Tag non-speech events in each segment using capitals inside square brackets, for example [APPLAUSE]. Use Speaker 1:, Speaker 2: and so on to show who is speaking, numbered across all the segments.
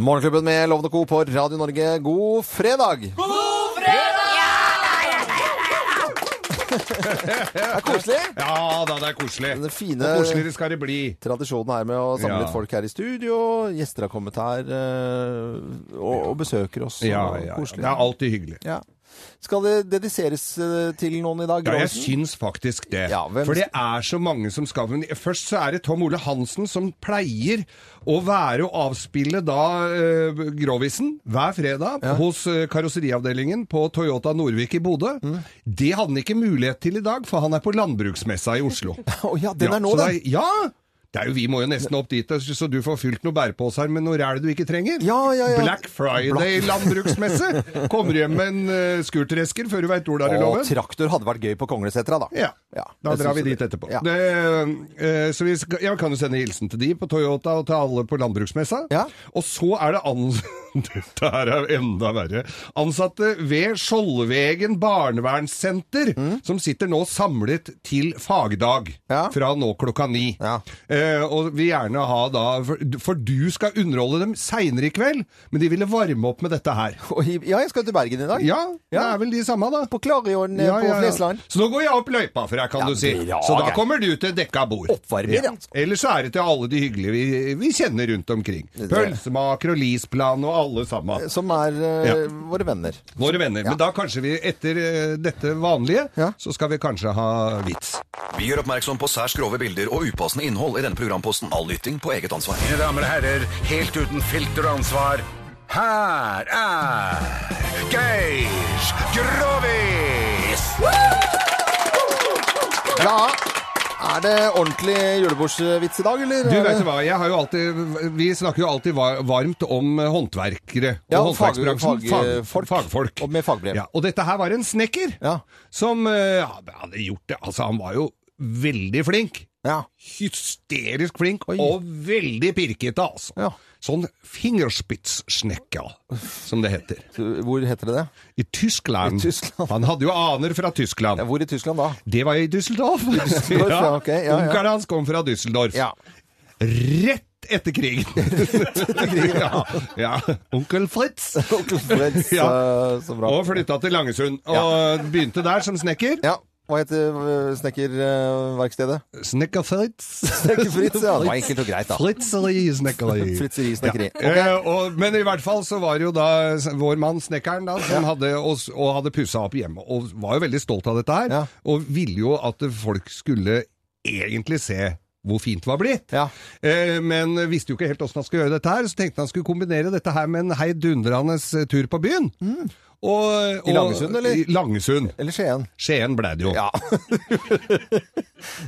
Speaker 1: Morgenklubben med Lovende Co. på Radio Norge, god fredag! God [LAUGHS] fredag! Det er koselig.
Speaker 2: Ja da, det er koselig.
Speaker 1: Den fine
Speaker 2: Og koseligere skal det bli.
Speaker 1: tradisjonen her med å samle
Speaker 2: Ja.
Speaker 1: litt folk her i studio. Gjester har kommet her eh, og, og besøker oss.
Speaker 2: Ja,
Speaker 1: og
Speaker 2: ja, ja.
Speaker 1: Koselig.
Speaker 2: Sånn, Det er alltid hyggelig.
Speaker 1: Ja. Skal det dediseres eh, til noen i dag?
Speaker 2: Ja, jeg
Speaker 1: Grovesen?
Speaker 2: syns faktisk det.
Speaker 1: Ja, hvem-
Speaker 2: For det er så mange som skal men Først så er det Tom Ole Hansen som pleier å være og avspille da eh, Grovisen hver fredag hos eh, karosseriavdelingen på Toyota Nordvik i Bodø. Det hadde han ikke mulighet til i dag, for han er på landbruksmessa i Oslo.
Speaker 1: Å ja, den
Speaker 2: Ja,
Speaker 1: er nå,
Speaker 2: så
Speaker 1: den!
Speaker 2: det er- Ja! Det er jo, vi må jo nesten opp dit, eh, så du får fylt noen bærepåser med noe ræl du ikke trenger.
Speaker 1: Ja, ja, ja.
Speaker 2: Black Friday landbruksmesse! Kommer hjem med en uh, skurtresker før du veit hvor det er i
Speaker 1: Og
Speaker 2: loven.
Speaker 1: traktor hadde vært gøy på Konglesetra, da.
Speaker 2: Ja. da
Speaker 1: jeg
Speaker 2: drar vi
Speaker 1: syns
Speaker 2: dit
Speaker 1: det.
Speaker 2: etterpå.
Speaker 1: Ja.
Speaker 2: Det, eh, så vi skal, jeg kan jo sende hilsen til de på Toyota og til alle på landbruksmessa.
Speaker 1: Ja.
Speaker 2: Og så er det an... [LAUGHS] Dette her er enda verre. Ansatte ved Skjoldvegen barnevernssenter som sitter nå samlet til fagdag
Speaker 1: Mm. Ja.
Speaker 2: fra nå klokka ni.
Speaker 1: Ja.
Speaker 2: Eh, og vil gjerne ha da For, for du skal underholde dem seinere i kveld, men de ville varme opp med dette her.
Speaker 1: Og i- ja, jeg skal til Bergen i dag.
Speaker 2: Ja, det
Speaker 1: Ja.
Speaker 2: er vel de samme, da.
Speaker 1: På Klarion eh, på Flesland.
Speaker 2: Så nå går jeg opp løypa for deg, kan du si.
Speaker 1: bra,
Speaker 2: så da
Speaker 1: Geir.
Speaker 2: kommer du til dekka bord.
Speaker 1: Oppvarmer, ja.
Speaker 2: Ellers så er det til alle de hyggelige vi, vi kjenner rundt omkring. Pølsemaker og Lisplan og alle sammen.
Speaker 1: Som er eh,
Speaker 2: Ja.
Speaker 1: våre venner.
Speaker 2: Våre venner. Men da kanskje vi etter eh, dette vanlige,
Speaker 1: Ja.
Speaker 2: så skal vi kanskje ha vits.
Speaker 3: Vi gjør oppmerksom på særs grove bilder og upassende innhold i denne programposten. All lytting på eget ansvar.
Speaker 4: Mine damer og herrer, helt uten filter og ansvar, her er Geir Grovis!
Speaker 1: Ja, er det ordentlig julebordsvits i dag, eller?
Speaker 2: Du
Speaker 1: Er det-
Speaker 2: vet du hva, jeg har jo alltid, vi snakker jo alltid var- varmt om eh, håndverkere og
Speaker 1: Ja, og fag-
Speaker 2: håndverksbransjen.
Speaker 1: fag-
Speaker 2: Fag-
Speaker 1: folk.
Speaker 2: fagfolk.
Speaker 1: Og med fagbrev.
Speaker 2: Ja, og dette her var en snekker
Speaker 1: Ja.
Speaker 2: som eh, hadde gjort det. Altså, han var jo veldig flink.
Speaker 1: Ja.
Speaker 2: Hysterisk flink og veldig pirkete, altså.
Speaker 1: Ja.
Speaker 2: Sånn fingerspitzsnekker, som det heter.
Speaker 1: Du, Hvor heter det det?
Speaker 2: I Tyskland.
Speaker 1: I Tyskland.
Speaker 2: Han hadde jo aner fra Tyskland.
Speaker 1: Ja, Hvor i Tyskland
Speaker 2: [LAUGHS]
Speaker 1: da?
Speaker 2: Det var i Düsseldorf.
Speaker 1: Düsseldorf, ja, ok, ja, ja.
Speaker 2: Onkelen hans kom fra Düsseldorf.
Speaker 1: Ja. [LAUGHS]
Speaker 2: Rett etter krigen. ja. ja. Onkel Fritz.
Speaker 1: Onkel Fritz,
Speaker 2: Ja.
Speaker 1: eh, så bra.
Speaker 2: Og flytta til Langesund. Og begynte der som snekker.
Speaker 1: Ja, hva heter eh,
Speaker 2: [LAUGHS]
Speaker 1: snekkerverkstedet?
Speaker 2: Snekker Fritz.
Speaker 1: Snekker Fritz, ja. Det var enkelt og greit, da.
Speaker 2: Fritzeri
Speaker 1: [LAUGHS]
Speaker 2: snekkeri.
Speaker 1: Fritzeri snekkeri.
Speaker 2: Eh, og, men i hvert fall så var det jo da s- vår mann snekkeren da, som hadde, og, s- og hadde pussa opp hjemme, og var jo veldig stolt av dette her,
Speaker 1: Ja.
Speaker 2: og ville jo at folk skulle egentlig se hvor fint det var blitt.
Speaker 1: Ja.
Speaker 2: Eh, men visste jo ikke helt åssen han skulle gjøre dette her, så tenkte han skulle kombinere dette her med en heidundrende eh, tur på byen. Og,
Speaker 1: Mm. I
Speaker 2: og-
Speaker 1: Langesund, eller?
Speaker 2: I Langesund.
Speaker 1: Eller Skien.
Speaker 2: Skien ble det jo. [LAUGHS]
Speaker 1: Ja.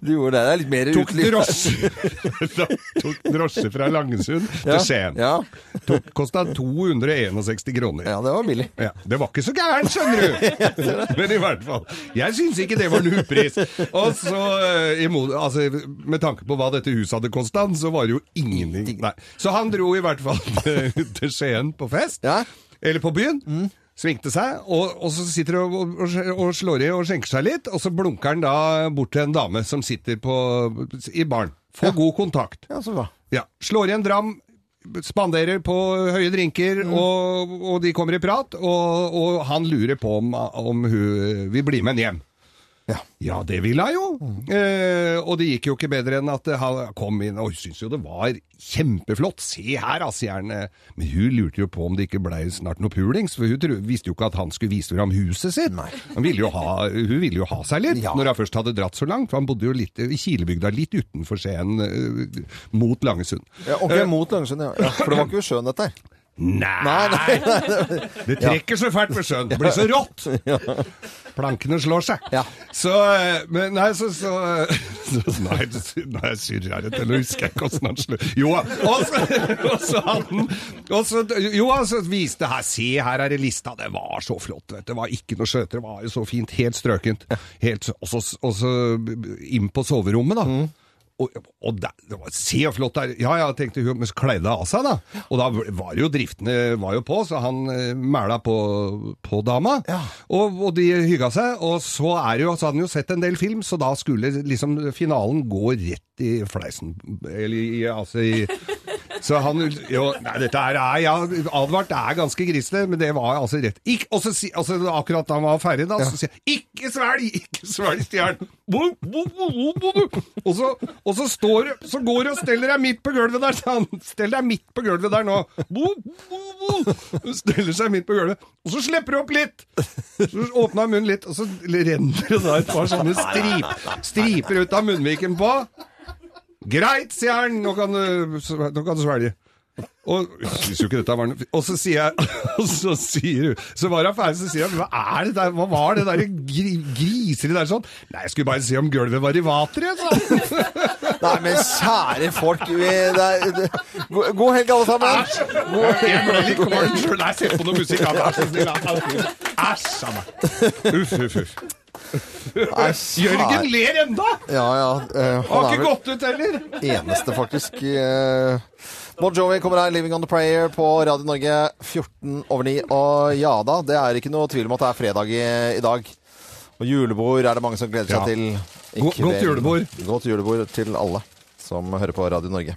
Speaker 1: Du gjorde det. Det er litt mer
Speaker 2: Tok
Speaker 1: uteliv.
Speaker 2: drosje, [LAUGHS] tok drosje fra Langesund til Skien.
Speaker 1: Ja.
Speaker 2: Tok- Kosta 261 kroner.
Speaker 1: ja, det var billig.
Speaker 2: Ja, det var ikke så
Speaker 1: [LAUGHS]
Speaker 2: gærent, skjønner du! Men i hvert fall. Jeg syns ikke det var null pris. Og så, eh, i mod- altså, med tanke på hva dette huset hadde kosta, så var det jo ingenting. Nei. Så han dro i hvert fall [LAUGHS] til til Skien på fest.
Speaker 1: Ja. Mm.
Speaker 2: Eller på byen. Svingte seg, og, og så sitter han og, og, og slår i og skjenker seg litt. Og så blunker han da bort til en dame som sitter på, i baren. Får god kontakt.
Speaker 1: Ja, så bra.
Speaker 2: Ja, slår igjen dram, spanderer på høye drinker, og, og de kommer i prat, og, og han lurer på om, om hun vil bli med henne hjem.
Speaker 1: Ja.
Speaker 2: det ville hun jo. Eh, og det gikk jo ikke bedre enn at han kom inn og syntes jo det var kjempeflott. Se her, altså, gjerne. Men hun lurte jo på om det ikke blei snart noe pulings, for hun tro, visste jo ikke at han skulle vise ham huset sitt. Han ville jo ha, hun ville jo ha seg litt,
Speaker 1: Ja.
Speaker 2: når han først hadde dratt så langt. For han bodde jo litt i Kilebygda, litt utenfor Skien, eh, mot Langesund.
Speaker 1: Eh. Ja, ok, mot Langesund, ja. ja. For det var ikke ved sjøen, dette her.
Speaker 2: Nei! [LAUGHS] Det trekker så fælt med skjønn. Det blir så rått! Plankene slår seg.
Speaker 1: Ja.
Speaker 2: Så eh, men, Nei, så, så, eh, [LAUGHS] så Nei, det sy- nei jeg syr her etter, eller husker jeg ikke åssen han slår Jo, og så, [LAUGHS] og så hadde han og så, Jo, han så viste her Se, her er det lista. Det var så flott, vet du. Det var ikke noe skjøter. Det var jo så fint. Helt strøkent. Helt, og, så, og så inn på soverommet, da. Og, og der, det var, se så flott der. Ja, ja, tenkte hun, men så kleide det av seg da. Og da var jo driftene var jo på, så han eh, mæla på, på dama. Og, og de hygga seg, og så, er det jo, så hadde han jo sett en del film, så da skulle liksom finalen gå rett i fleisen. Eller i, altså i så han jo, Nei, dette her er Jeg har advart, det er ganske grisete, men det var altså rett. Ikke, og så si, altså, akkurat da han var ferdig, da, så sier jeg 'ikke svelg', ikke svelg stjernen. Bo, bo, bo, bo, bo, bo. Og, så, og så står du, så går du og steller deg midt på gulvet der, sa han. Stell deg midt på gulvet der nå. Bo, bo, bo. Hun Steller seg midt på gulvet, og så slipper du opp litt. Så åpner han munnen litt, og så renner det da et par sånne strip, striper ut av munnviken på. Greit, sier han. Nå kan du, nå kan du svelge. Og jeg synes jo ikke dette var noe Og så sier jeg [LAUGHS] Og så sier hun Så var hun ferdig, så sier jeg Hva er det der Hva var det der gri, griser der sånn? Nei, jeg skulle bare se om gulvet var i vater, jeg, sa han.
Speaker 1: Nei, men kjære folk vi, det er, det, god, god helg, alle sammen! God
Speaker 2: Jeg ble litt
Speaker 1: helg.
Speaker 2: kvalm sjøl. Nei, se på noe musikk. han. Vær så snill, han. Æsj, sa meg. Uff, uff, uff.
Speaker 1: Nei, kjære-
Speaker 2: Jørgen ler enda!
Speaker 1: Ja, ja. eh,
Speaker 2: Han
Speaker 1: Han
Speaker 2: har
Speaker 1: er
Speaker 2: ikke
Speaker 1: vel
Speaker 2: gått ut heller.
Speaker 1: eneste, faktisk. eh. Bon Jovi kommer her, 'Living On The Prayer', på Radio Norge 14 over 9. Og ja da, det er ikke noe tvil om at det er fredag i, i dag. Og julebord er det mange som gleder
Speaker 2: Ja.
Speaker 1: seg til. i
Speaker 2: Go- godt
Speaker 1: kveld.
Speaker 2: julebord.
Speaker 1: Godt julebord til alle som hører på Radio Norge.